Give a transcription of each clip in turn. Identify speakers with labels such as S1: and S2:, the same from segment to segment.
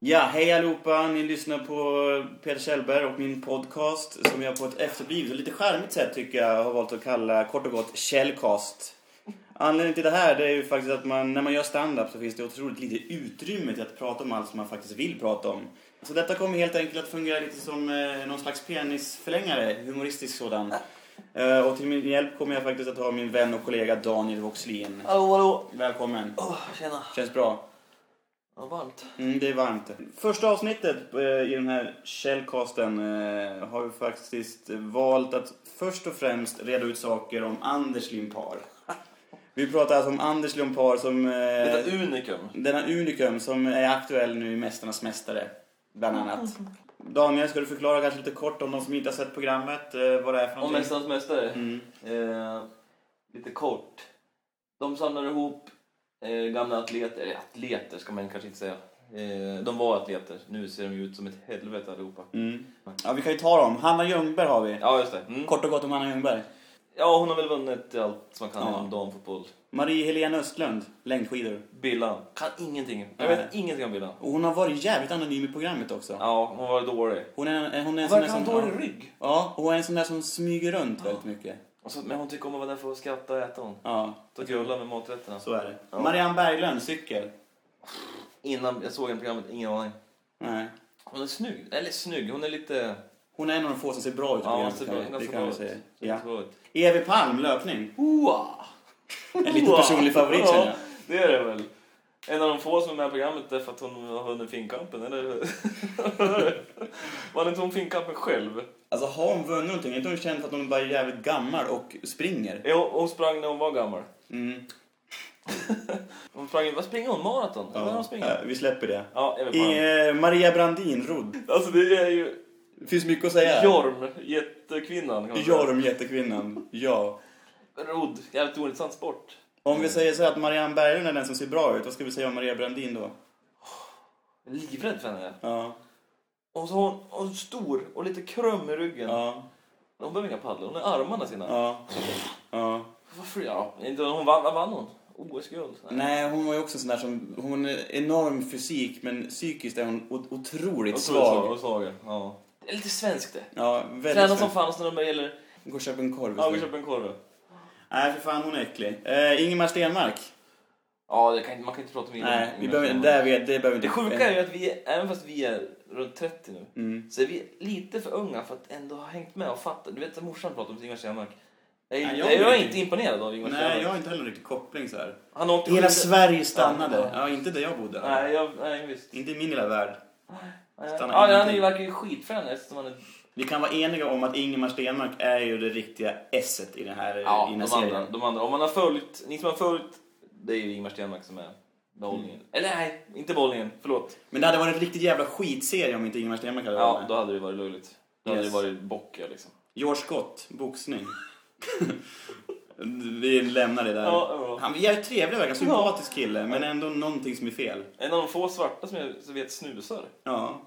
S1: Ja, hej allihopa! Ni lyssnar på Peter Kjellberg och min podcast som jag på ett efterblivet och lite charmigt sätt tycker jag har valt att kalla kort och gott Kjellcast. Anledningen till det här det är ju faktiskt att man, när man gör stand-up så finns det otroligt lite utrymme till att prata om allt som man faktiskt vill prata om. Så detta kommer helt enkelt att fungera lite som eh, någon slags penisförlängare, humoristisk sådan. Eh, och till min hjälp kommer jag faktiskt att ha min vän och kollega Daniel Voxlin.
S2: Hallå, hallå!
S1: Välkommen!
S2: Oh, tjena!
S1: Känns bra?
S2: Vad varmt.
S1: Mm, det är varmt. Första avsnittet eh, i den här källkasten eh, har vi faktiskt eh, valt att först och främst reda ut saker om Anders Limpar. Vi pratar alltså om Anders Limpar som...
S2: Detta
S1: Eh,
S2: unikum.
S1: denna unikum som är aktuell nu i Mästarnas Mästare, bland annat. Daniel, ska du förklara kanske lite kort om de som inte har sett programmet, eh, vad det är för
S2: Om
S1: någonting?
S2: Mästarnas Mästare.
S1: Mm.
S2: Eh, lite kort. De samlar ihop eh, gamla atleter, eller atleter ska man kanske inte säga. Eh, de var atleter, nu ser de ju ut som ett helvete allihopa.
S1: Mm. Ja, vi kan ju ta dem. Hanna Ljungberg har vi.
S2: Ja, just det. Mm.
S1: Kort och gott om Hanna Ljungberg.
S2: Ja, hon har väl vunnit allt som man kan
S1: Ja.
S2: inom damfotboll.
S1: Marie-Helene Östlund, längdskidor.
S2: Billan. Kan ingenting. Jag
S1: Nej.
S2: vet ingenting om Billan.
S1: Och hon har varit jävligt anonym i programmet också.
S2: Ja, hon var dålig.
S1: Hon är, hon är en sån där som...
S2: Verkar ha dålig rygg.
S1: ja, och hon är en sån där som smyger runt väldigt mycket.
S2: Och så- Men hon tycker om att vara där för att skratta och äta hon.
S1: Ja,
S2: Och gulla med maträtterna.
S1: så är det.
S2: Ja.
S1: Marianne Berglund, cykel.
S2: Innan jag såg henne i programmet, ingen aning.
S1: Nej.
S2: Hon är snygg. Eller snygg, hon är lite...
S1: Hon är en av de få som ser bra ut i
S2: Ja, hon
S1: programmet,
S2: ser
S1: kan vi-
S2: bra hon
S1: det
S2: ser
S1: kan
S2: bra
S1: vi
S2: ut.
S1: säga.
S2: Hon
S1: Ja.
S2: ser bra ut.
S1: Evi Palm, löpning.
S2: Hoa!
S1: En liten personlig favorit känner jag.
S2: Ja, det är det väl. En av de få som är med i programmet är för att hon har vunnit finkampen, eller hur? Vann inte hon finkampen själv?
S1: Alltså har hon vunnit någonting? Är inte hon känd för att hon bara är jävligt gammal och springer?
S2: Jo, hon sprang när hon var gammal.
S1: Mm.
S2: Hon sprang, vad springer hon? Maraton? Eller När hon
S1: Ja,
S2: springer?
S1: vi släpper det.
S2: Ja, jag vet
S1: I,
S2: inte.
S1: eh, Maria Brandin, rodd.
S2: Alltså det är ju
S1: Det finns mycket att säga.
S2: Jorm, jättekvinnan. kan man säga.
S1: Jorm, jättekvinnan. Ja.
S2: Rodd, jävligt ointressant sport.
S1: Om vi säger så här att Marianne Berglund är den som ser bra ut, vad ska vi säga om Maria Brandin då?
S2: Jag är Livrädd för henne.
S1: Ja.
S2: Och så har hon, hon är stor och lite krum i ryggen.
S1: Ja.
S2: Hon behöver inga paddlar, hon har armarna sina.
S1: Ja. ja.
S2: Varför? Ja, inte, hon vann, vad vann hon? OS-guld?
S1: Nej, hon var ju också sån där som... Hon har en enorm fysik, men psykiskt är hon o- otroligt
S2: Och
S1: svag.
S2: Och svag, ja. Det är lite svenskt det.
S1: Ja, väldigt
S2: Tränar
S1: svag.
S2: som fanns när det gäller...
S1: Gå och köp en korv.
S2: Ja,
S1: istället.
S2: vi köper en korv.
S1: Nej, för fan, hon är äcklig. Eh, Ingemar Stenmark.
S2: Ja, det kan, inte- man kan inte prata om
S1: Nej, vi
S2: innan.
S1: behöver, där vet, det behöver vi inte...
S2: Det sjuka är ju att vi, är- även fast vi är runt 30 nu,
S1: Mm.
S2: så är vi lite för unga för att ändå ha hängt med och fattat. Du vet att morsan pratade om Ingemar Stenmark. Jag, är-
S1: Nej, jag
S2: jag, är
S1: vet
S2: inte imponerad av Ingemar
S1: Nej,
S2: Stenmark.
S1: jag har inte heller riktigt koppling så här.
S2: Han åkte
S1: Hela
S2: skidor-
S1: Sverige stannade.
S2: Ja,
S1: Ja, inte där jag bodde.
S2: Nej, jag, nej visst.
S1: Inte i min lilla värld. Stanna
S2: Ja, han är ju-
S1: ingenting.
S2: verkar ju skitfrän eftersom han är...
S1: Vi kan vara eniga om att Ingemar Stenmark är ju det riktiga esset i den här,
S2: eh,
S1: i den här
S2: de andra,
S1: serien.
S2: de andra. Om man har följt, ni som har följt, det är ju Ingemar Stenmark som är behållningen. Eller nej, inte behållningen, förlåt.
S1: Men det hade varit en riktigt jävla skitserie om inte Ingemar Stenmark hade varit
S2: Ja,
S1: med.
S2: då hade det varit löjligt. Då hade
S1: Yes.
S2: det varit bockiga liksom.
S1: George Scott, boxning. Vi lämnar det där.
S2: Ja, ja.
S1: Han är jävligt trevlig verkar, sympatisk kille, men ändå någonting som är fel.
S2: En av de få svarta som jag som vet snusar.
S1: Ja,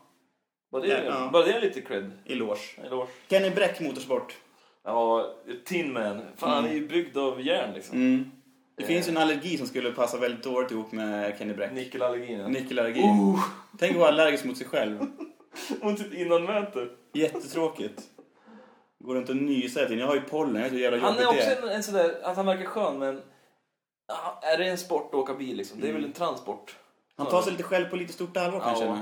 S2: Bara det, är-
S1: Ja.
S2: bara det är lite cred.
S1: eloge.
S2: Eloge.
S1: Kenny Bräck, motorsport.
S2: Ja, Tin Man. Fan, han är ju byggd av järn liksom.
S1: Mm. Det finns ju
S2: Eh.
S1: en allergi som skulle passa väldigt dåligt ihop med Kenny
S2: Mm.
S1: Bräck.
S2: Nickelallergin ja.
S1: Nickelallergi.
S2: Oh!
S1: Tänk att vara allergisk mot sig själv.
S2: Mot sitt innanmäte.
S1: Jättetråkigt. Går runt och nyser hela tiden. Jag har ju pollen, jag vet hur jävla
S2: Han
S1: jobbigt
S2: är också
S1: det är.
S2: en, en sådär, att han verkar skön men... ja, Är det en sport att åka bil liksom? Det är väl en transport?
S1: Han tar sig lite själv på lite stort allvar
S2: Ja.
S1: kanske.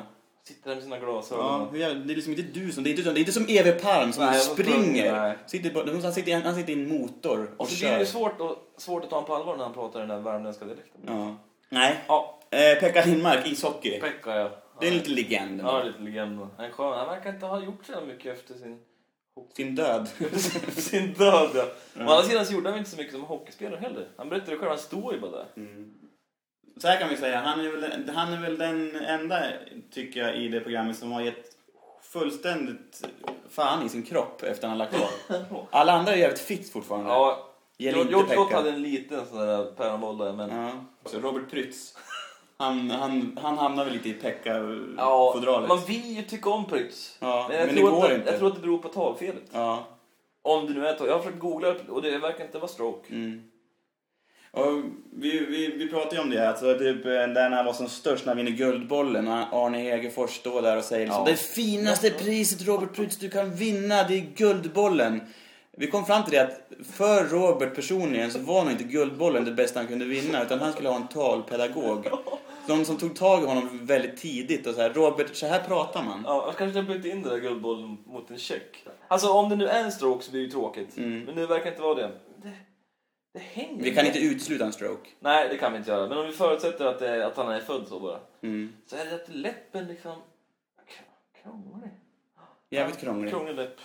S2: Sitter där med sina
S1: Ja,
S2: glasögon.
S1: hur jävla- det är liksom inte du som... Det är inte, det är inte som Evi Palm som
S2: Nej, jag var tvungen,
S1: springer.
S2: nej.
S1: Sitter, på- han, sitter, i en- han sitter i en motor och,
S2: Och så blir
S1: kör.
S2: det ju svårt, att- svårt att ta honom på allvar när han pratar den där värmländska dialekten.
S1: Ja. Nej.
S2: Ja,
S1: Eh, Pekka Lindmark, ishockey.
S2: Pekka ja.
S1: Det är en liten legend.
S2: Ja, lite legend. Han är skön. Han verkar inte ha gjort så mycket efter sin,
S1: Sin död.
S2: sin död. Ja.
S1: Mm.
S2: Å andra sidan så gjorde han inte så mycket som hockeyspelare heller. Han berättade själv, han står ju bara där.
S1: Mm. Så här kan vi säga, han är, väl, han är väl den enda, tycker jag, i det programmet som har gett fullständigt fan i sin kropp efter han har lagt av. Alla andra är jävligt fit fortfarande.
S2: Ja,
S1: Gäller inte
S2: George Scott
S1: Pekka. Mm.
S2: hade en liten sån där päronbollare men...
S1: Ja. Så Robert Prytz, han, han, han hamnar väl lite i
S2: Ja,
S1: Pekka-fodralet.
S2: man vill ju tycka om Prytz.
S1: Ja,
S2: jag
S1: men det
S2: tror
S1: går
S2: att,
S1: inte.
S2: Jag tror att det beror på talfelet.
S1: Ja.
S2: Om det nu är tal. Jag har försökt googla det, och det verkar inte vara stroke.
S1: Mm. Och vi, vi, vi pratade ju om det, alltså typ eh, där när han var som störst, när han vinner Guldbollen. Och Arne Hegerfors står där och säger liksom,
S2: Ja.
S1: Det finaste priset Robert Prytz du kan vinna, det är Guldbollen. Vi kom fram till det att för Robert personligen så var nog inte Guldbollen det bästa han kunde vinna, utan han skulle ha en talpedagog. Någon som tog tag i honom väldigt tidigt och så här, Robert, så här pratar man.
S2: Ja, jag kanske bytte in den där guldbollen mot en check. Alltså om det nu är en stroke så blir det ju tråkigt. Men nu verkar det inte vara det. Det, det hänger
S1: Mm. Vi kan inte utesluta en stroke.
S2: Nej, det kan vi inte göra. Men om vi förutsätter att, det, att han är född så bara.
S1: Mm.
S2: Så är det att läppen liksom... kr- Krånglig.
S1: Jävligt krångligt.
S2: Krånglig läpp.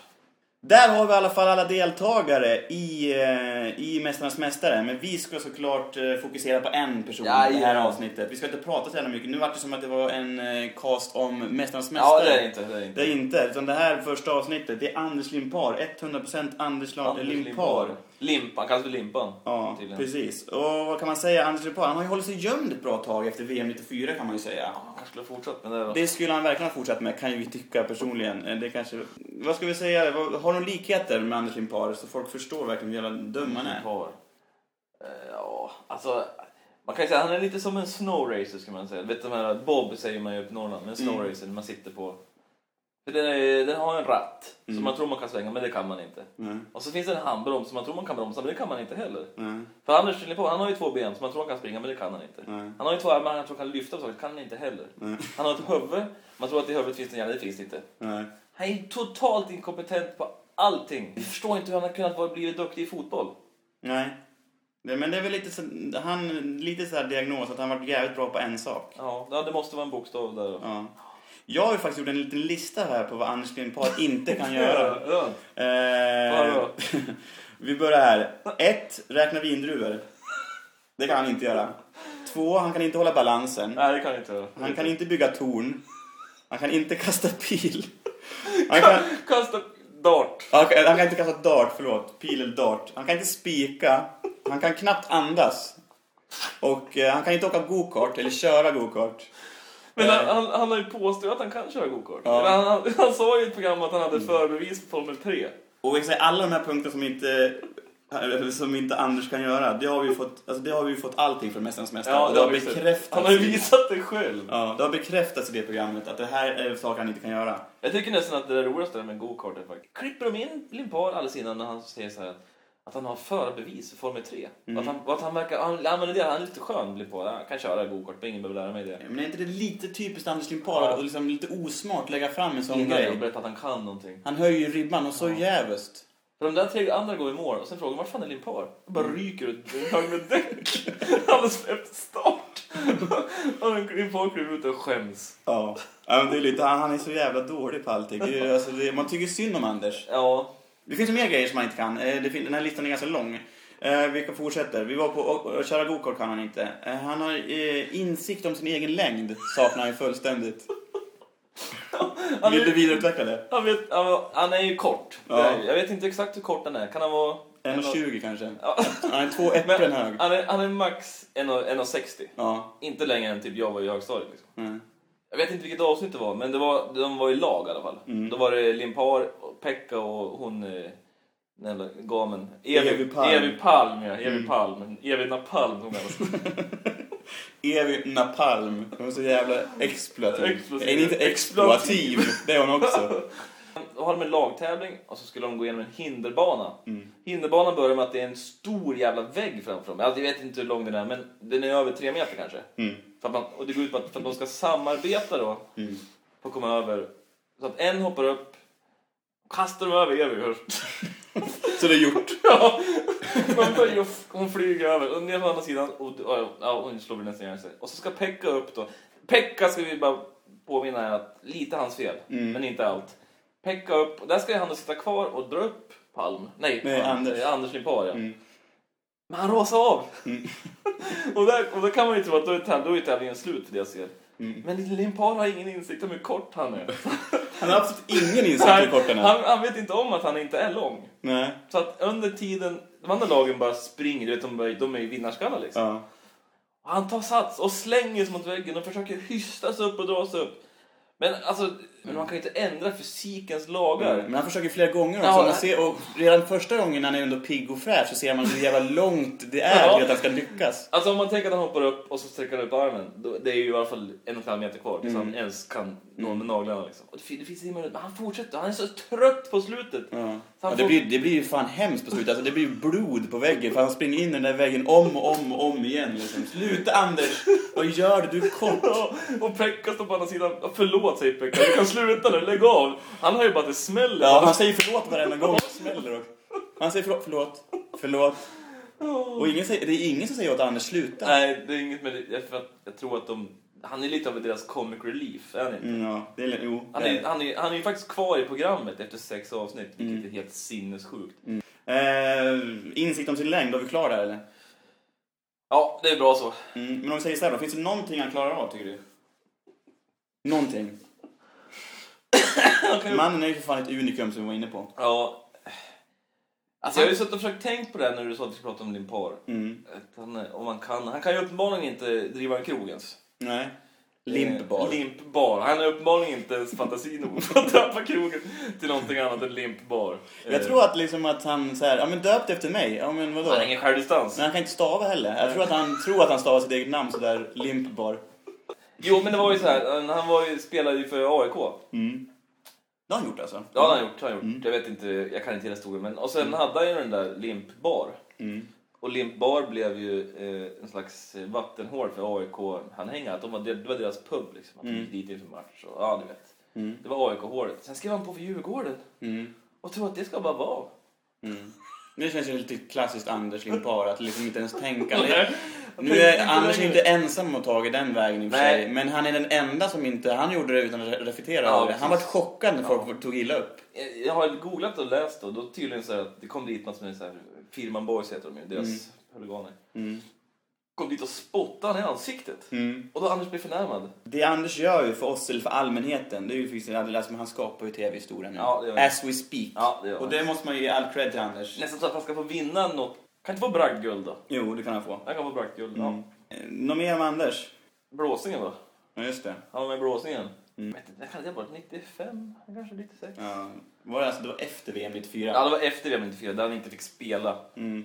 S1: Där har vi i alla fall alla deltagare i, eh, i Mästarnas Mästare. Men vi ska såklart eh, fokusera på en person i det
S2: Ja,
S1: här
S2: ja.
S1: avsnittet. Vi ska inte prata så jävla mycket. Nu var det som att det var en eh, cast om Mästarnas
S2: Ja,
S1: Mästare.
S2: det är inte. Det är inte.
S1: Det är inte. Utan det här första avsnittet, det är Anders Limpar. 100% Anders, La-
S2: Anders
S1: Limpar.
S2: Limpan, kallas för Limpan.
S1: Ja,
S2: tydligen.
S1: precis. Och vad kan man säga? Anders Limpar, han har ju hållit sig gömd ett bra tag efter VM 94 kan man ju säga.
S2: Han kanske skulle ha fortsatt med det då.
S1: Det skulle han verkligen ha fortsatt med, kan ju vi tycka personligen. Eh, Det kanske... Vad ska vi säga? Vad- Har de likheter med Anders Limpar så folk förstår verkligen hur jävla dum han är?
S2: Limpar. Eh, Ja, alltså... Man kan ju säga han är lite som en snowracer ska man säga. Vet du de här, bob säger man ju uppe i Norrland, men snowracer man sitter på. För den, är, den har en ratt som man tror man kan svänga, men det kan man inte.
S1: Nej,
S2: Och så finns det en handbroms som man tror man kan bromsa, men det kan man inte heller.
S1: nej,
S2: För Anders Limpar, han har ju två ben som man tror han kan springa, men det kan han inte.
S1: nej,
S2: Han har ju två armar han tror han kan lyfta på saker, det kan han inte heller.
S1: nej,
S2: Han har ett huvud, man tror att i huvudet finns det en hjärna, det finns det inte.
S1: nej.
S2: Han är totalt inkompetent på allting. Jag förstår inte hur han har kunnat vara blivit duktig i fotboll.
S1: nej. Det- Men det är väl lite så, han, lite så här diagnos att han varit jävligt bra på en sak.
S2: Ja, ja, det måste vara en bokstav där.
S1: Ja. Jag har ju faktiskt gjort en liten lista här på vad Anders Limpar inte kan göra.
S2: Ja.
S1: Eh,
S2: Vadå?
S1: vi börjar här. 1. Räkna vindruvor. Det kan han inte göra. 2. Han kan inte hålla balansen.
S2: Nej, det kan jag inte göra.
S1: Han kan inte bygga torn. Han kan inte kasta pil. Han kan,
S2: Kasta dart.
S1: han kan, han kan inte kasta dart, förlåt. Pil eller dart. Han kan inte spika. Han kan knappt andas. Och eh, han kan inte åka gokart eller köra gokart.
S2: Men han, han, han har ju påstått att han kan köra gokart.
S1: Ja. Mm.
S2: Men Han, han, han sa ju i ett program att han hade förbevis på Formel 3.
S1: Och jag säger, alla de här punkterna som inte, eh, som inte Anders kan göra, det har vi ju fått, alltså, det har vi ju fått allting från Mästarnas Mästare. Och det har
S2: vi sett.
S1: bekräftats.
S2: Han har ju
S1: i-
S2: visat det själv.
S1: Ja, det har bekräftats i det programmet att det här är saker han inte kan göra.
S2: Jag tycker nästan att det är roligaste med gokart är faktiskt. Klipper de in Limpar alldeles innan när han säger så här att, att han har förbevis för Formel 3.
S1: Mm.
S2: Och att han, och att han verkar, han använder det, han är lite skön Limpar. Han kan köra gokart, men ingen behöver lära mig det.
S1: Men är inte det lite typiskt Anders Limpar och liksom lite osmart att lägga fram en sån
S2: Innan
S1: grej?
S2: jag berättar att han kan någonting.
S1: Han höjer ju ribban och så jävligt.
S2: För de där tre andra går i mål och sen frågar man, vart fan är Limpar? Och
S1: Mm.
S2: bara ryker ut ur en hög med däck alldeles efter start. och Limpar kliver ut och skäms.
S1: Ja. ja men det är lite, han, han är så jävla dålig på allting. Det är, ju- alltså, det, man tycker synd om Anders.
S2: Ja,
S1: Det finns ju mer grejer som han inte kan. Eh, Det fin- den här listan är ganska lång. Eh, Vi fortsätter. Vi var på och- och köra gokart kan han inte. Eh, Han har eh, insikt om sin egen längd. Saknar han ju fullständigt.
S2: han
S1: Vill du
S2: är,
S1: vidareutveckla det?
S2: han, vet, han- han är ju kort.
S1: Ja.
S2: Jag vet inte exakt hur kort han är. Kan han vara...
S1: 1,20 kanske.
S2: Ja.
S1: Han är två äpplen hög.
S2: han, är, han är max 1,60.
S1: Ja.
S2: Inte längre än typ jag var i högstadiet. Liksom.
S1: Mm.
S2: Jag vet inte vilket avsnitt det var, men det var, de var i lag i alla fall.
S1: Mm.
S2: Då var det Limpar, och Pekka och hon... eh, Den jävla gamen. Evi,
S1: Evi Palm. Mm.
S2: Evi Palm, ja. Evi Palm. Evi Napalm hon kallas.
S1: Evi Napalm. Hon är så jävla exploativ.
S2: Explosiv.
S1: Nej, inte exploativ. Det är hon också.
S2: Då har de en lagtävling och så skulle de gå igenom en hinderbana.
S1: Mm.
S2: Hinderbanan börjar med att det är en stor jävla vägg framför dem. Alltså, jag vet inte hur lång den är, men den är över tre meter kanske.
S1: Mm,
S2: För att man, och det går ut på att, för att de ska samarbeta då
S1: mm.
S2: för att komma över. Så att en hoppar upp, kastar dem över Evi först.
S1: Så det är gjort.
S2: Ja, man tar ju- hon flyger över och ner på andra sidan och och- ja, hon slår väl nästan ihjäl sig. Och så ska Pekka upp då. Pekka ska vi bara påminna här att lite hans fel,
S1: Mm.
S2: men inte allt. Pekka upp och där ska ju han då sitta kvar och dra upp Palm. Nej,
S1: Nej,
S2: Palm.
S1: Anders. Mm.
S2: Eh, Anders Limpar ja. Men han rasar av. och, där, och då kan man ju tro att då är, täv- då är tävlingen slut för det jag ser.
S1: Mm.
S2: Men Limpar har ingen insikt om hur kort han är.
S1: Han har absolut ingen insikt i
S2: han,
S1: korten än.
S2: han, han vet inte om att han inte är lång.
S1: Nej.
S2: Så att under tiden, de andra lagen bara springer, du vet, de, bara- de är ju vinnarskallar liksom.
S1: Ja.
S2: Och han tar sats och slänger sig mot väggen och försöker hysta sig upp och dra sig upp. Men alltså, men man kan ju inte ändra fysikens lagar.
S1: Men han försöker flera gånger också.
S2: Ja,
S1: man
S2: det-
S1: ser, och redan första gången när han är ändå pigg och fräsch så ser man hur jävla långt det är
S2: Ja.
S1: till att han ska lyckas.
S2: Alltså om man tänker att han hoppar upp och så sträcker han ut armen. Då, det är ju i alla fall en och en halv meter kvar tills
S1: Mm.
S2: han ens kan nå med naglarna. Liksom. Och det, fin- det finns ingen möjlighet. Men han fortsätter. Han är så trött på slutet.
S1: Ja.
S2: Så han
S1: Ja, det,
S2: får-
S1: blir, det blir ju fan hemskt på slutet. Alltså, det blir ju blod på väggen för han springer in i den där väggen om och om och om igen. Liksom. Sluta Anders! Vad gör du? Du är kort!
S2: Ja, Och Pekka står på andra sidan. Ja, Förlåt säger Pekka. Du kan sluta nu. Lägg av. Han har ju bara att det smäller.
S1: Ja, han säger förlåt varenda gång det smäller. också. Han säger förlåt, förlåt, förlåt. Och ingen säger, det är ingen som säger åt Anders sluta.
S2: Nej, det är inget med det. Jag- För att jag tror att de... Han är lite av deras comic relief. Är han inte?
S1: Mm, ja, Mm. det är, jo,
S2: Han
S1: det är
S2: är,
S1: det.
S2: han, är, han är ju faktiskt kvar i programmet efter sex avsnitt, vilket är helt sinnessjukt.
S1: Eh, insikt om sin längd, har vi klarat det här eller?
S2: Ja, det är bra så.
S1: Mm, men om vi säger så här då, finns det någonting han klarar av tycker du? Någonting. Mannen är ju för fan ett unikum som vi var inne på.
S2: Ja. Alltså jag har ju suttit och försökt tänkt på det här när du sa att vi skulle prata om din par.
S1: Mm,
S2: Att han, eh, om han, kan, han kan ju uppenbarligen inte driva en krog ens.
S1: Nej. Limpbar.
S2: Eh, Limpbar. Han har uppenbarligen inte ens fantasi nog för att döpa krogen till någonting annat än limpbar. Eh,
S1: Jag tror att liksom att han så här, ja men döpt efter mig, ja men vadå?
S2: Han har ingen självdistans.
S1: Men han kan inte stava heller. Jag tror att han tror att han stavar sitt eget namn sådär, limpbar.
S2: Jo men det var ju så här, han var ju, spelade ju för AIK.
S1: Mm. Det har han gjort alltså?
S2: Ja, det har han gjort. det Har han gjort. Jag vet inte, jag kan inte hela historien. Men, och sen hade han ju den där limpbar.
S1: Mm.
S2: Och limpbar blev ju eh, en slags vattenhål för AIK-anhängare. Att De var, det var deras pub liksom. Att de gick dit inför match. Och, ja, du vet. Det var AIK-hålet. Sen skrev han på för Djurgården.
S1: Mm.
S2: Och tror att det ska bara vara.
S1: Men Det känns ju lite klassiskt Anders Limpar att liksom inte ens tänka.
S2: Nej.
S1: Nu är
S2: Inte
S1: Anders
S2: längre.
S1: inte ensam om att ha tagit den vägen i och för
S2: Nej.
S1: sig. Men han är den enda som inte, han gjorde det utan att reflektera
S2: Ja,
S1: över det. Han var
S2: precis.
S1: chockad när folk tog illa upp.
S2: Eh, Jag har googlat och läst och då tydligen så här att det kom dit något som är så här, Firman Boys heter de ju, deras huliganer. Kom dit och spottade han i ansiktet.
S1: Mm.
S2: Och då Anders blev förnärmad.
S1: Det Anders gör ju för oss, eller för allmänheten, det är ju faktiskt, alltså, han skapar ju tv-historia nu.
S2: Ja, det gör han.
S1: As we speak.
S2: Ja, det gör han.
S1: och det måste man ju ge all cred till Anders.
S2: Nästan så att han ska få vinna något. Kan inte få bragdguld då?
S1: Jo, det kan han få.
S2: Han kan få bragdguld. Ja.
S1: Eh, Något mer om Anders?
S2: Blåsningen då?
S1: Ja, just det.
S2: Han var med i blåsningen. Mm. Det kan det ha varit 95, kanske 96? Ja.
S1: Ja. Var det, alltså, det var efter VM 94.
S2: det var efter det 94, där han inte fick spela. Eh,
S1: Mm.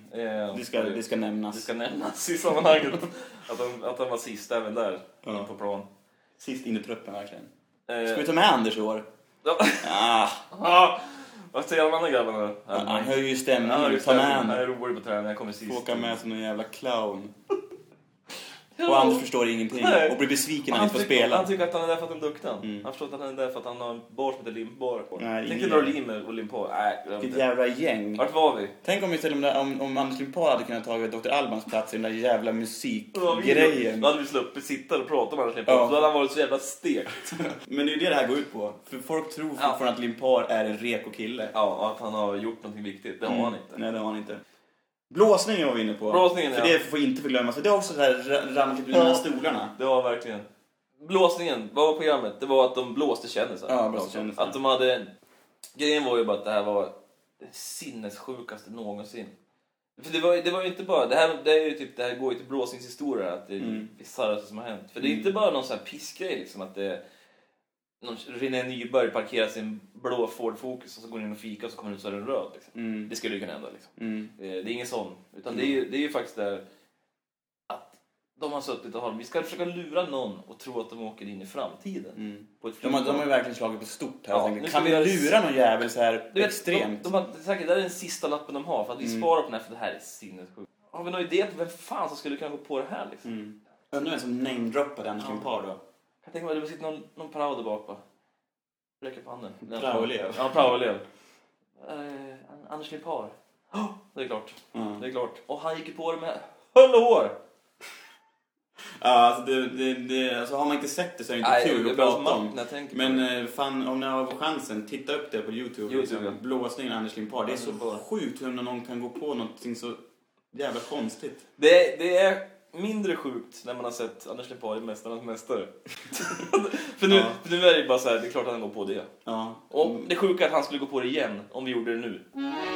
S1: Det, ska, det ska nämnas.
S2: det ska nämnas i sammanhanget att, han, att han var sist även där, in på plan.
S1: Sist in i truppen, verkligen.
S2: Eh,
S1: Ska vi ta med Anders i år?
S2: ja.
S1: Ah,
S2: Ah, Vad säger de andra grabbarna då?
S1: han höjer ju
S2: Han har
S1: stämningen.
S2: ju
S1: Ta med
S2: stämning. Han
S1: honom.
S2: är rolig på träningen, jag kommer sist.
S1: Får Åka med som någon jävla clown.
S2: Ja.
S1: Och Anders förstår ingenting
S2: Nej.
S1: och blir besviken när
S2: Han
S1: han inte får
S2: tycker-
S1: spela. Mm.
S2: Han tycker att han är där för att han är duktig. Han förstår inte att han är där för att han har en bar som heter Limpbar.
S1: Nej,
S2: Tänk
S1: ingen
S2: dig dra
S1: jävla-
S2: lim och limpar. Nej, glöm
S1: Vilket
S2: det.
S1: jävla gäng.
S2: Vart var vi?
S1: Tänk om istället om, det- om, om Anders Limpar hade kunnat ta Dr. Albans plats i den där jävla musikgrejen.
S2: Då hade vi sluppit sitta och prata om Anders Limpar.
S1: Ja.
S2: Då hade han varit så jävla stekt.
S1: Men det är ju det det här går ut på. För folk tror fortfarande att Limpar är en reko kille.
S2: ja, och att han har gjort någonting viktigt. Det har
S1: Mm.
S2: han inte.
S1: Nej, det har han inte. Blåsningen var vi inne på.
S2: Blåsningen,
S1: för
S2: ja.
S1: det får inte förglömmas. För det har också så här ra- ramlat ut mellan stolarna.
S2: Det var verkligen... Blåsningen, vad var programmet? Det var att de blåste kändisar.
S1: Ja, blåste kändisar.
S2: Att de hade... Grejen var ju bara att det här var det sinnessjukaste någonsin. För det var, ju- det var ju inte bara... Det här, det är ju typ, det här går ju till blåsningshistoria, att det är
S1: Mm.
S2: det bisarraste som har hänt. För det är inte bara någon sån här pissgrej liksom att det... Någon, René Nyberg parkerar sin blå Ford Focus och så går in och fika och så kommer det ut så är den röd. Liksom.
S1: Mm,
S2: Det skulle ju kunna hända liksom. Eh, Det är ingen sån. Utan det är ju, det är ju faktiskt där att de har suttit och har... Vi ska försöka lura någon och tro att de åker in i framtiden. På ett
S1: Mm. De har, de har
S2: flygplan.
S1: ju verkligen slagit på stort här.
S2: Ja,
S1: Jag tänkte,
S2: nu ska
S1: kan vi
S2: vi göra-
S1: lura någon jävel så här
S2: Du vet,
S1: extremt? Mm.
S2: De, de har, säkert, det här är den sista lappen de har för att vi sparar på den här för det här är sinnessjukt. Har vi någon idé på vem fan som skulle kunna gå på det här liksom?
S1: Mm. Undrar vem som namedroppade Anders Limpar då?
S2: Jag tänker mig att det sitter någon, någon prao där bak bara. Räcker upp handen. Den-
S1: Praoelev.
S2: Ja, praoelev. Eh, An- Anders Limpar. Oh, det är klart.
S1: Mm.
S2: Det är klart. Och han gick ju på det med hull och hår.
S1: Ja, alltså, det, det, det, alltså har man inte sett det så är det inte
S2: Nej,
S1: kul
S2: det
S1: att
S2: börjar
S1: prata om.
S2: smakna, jag tänker på
S1: Men eh, fan, om ni har chansen, titta upp det på Youtube.
S2: YouTube,
S1: liksom.
S2: ja.
S1: Blåsningen Anders Limpar. Det är så
S2: Anders Limpar.
S1: sjukt hur någon kan gå på någonting så jävla konstigt.
S2: Det, det är mindre sjukt när man har sett Anders Limpar i Mästarnas Mästare. för, nu,
S1: Ja.
S2: för nu är det ju bara så här, det är klart att han går på det.
S1: Ja.
S2: Och det sjuka är att han skulle gå på det igen om vi gjorde det nu.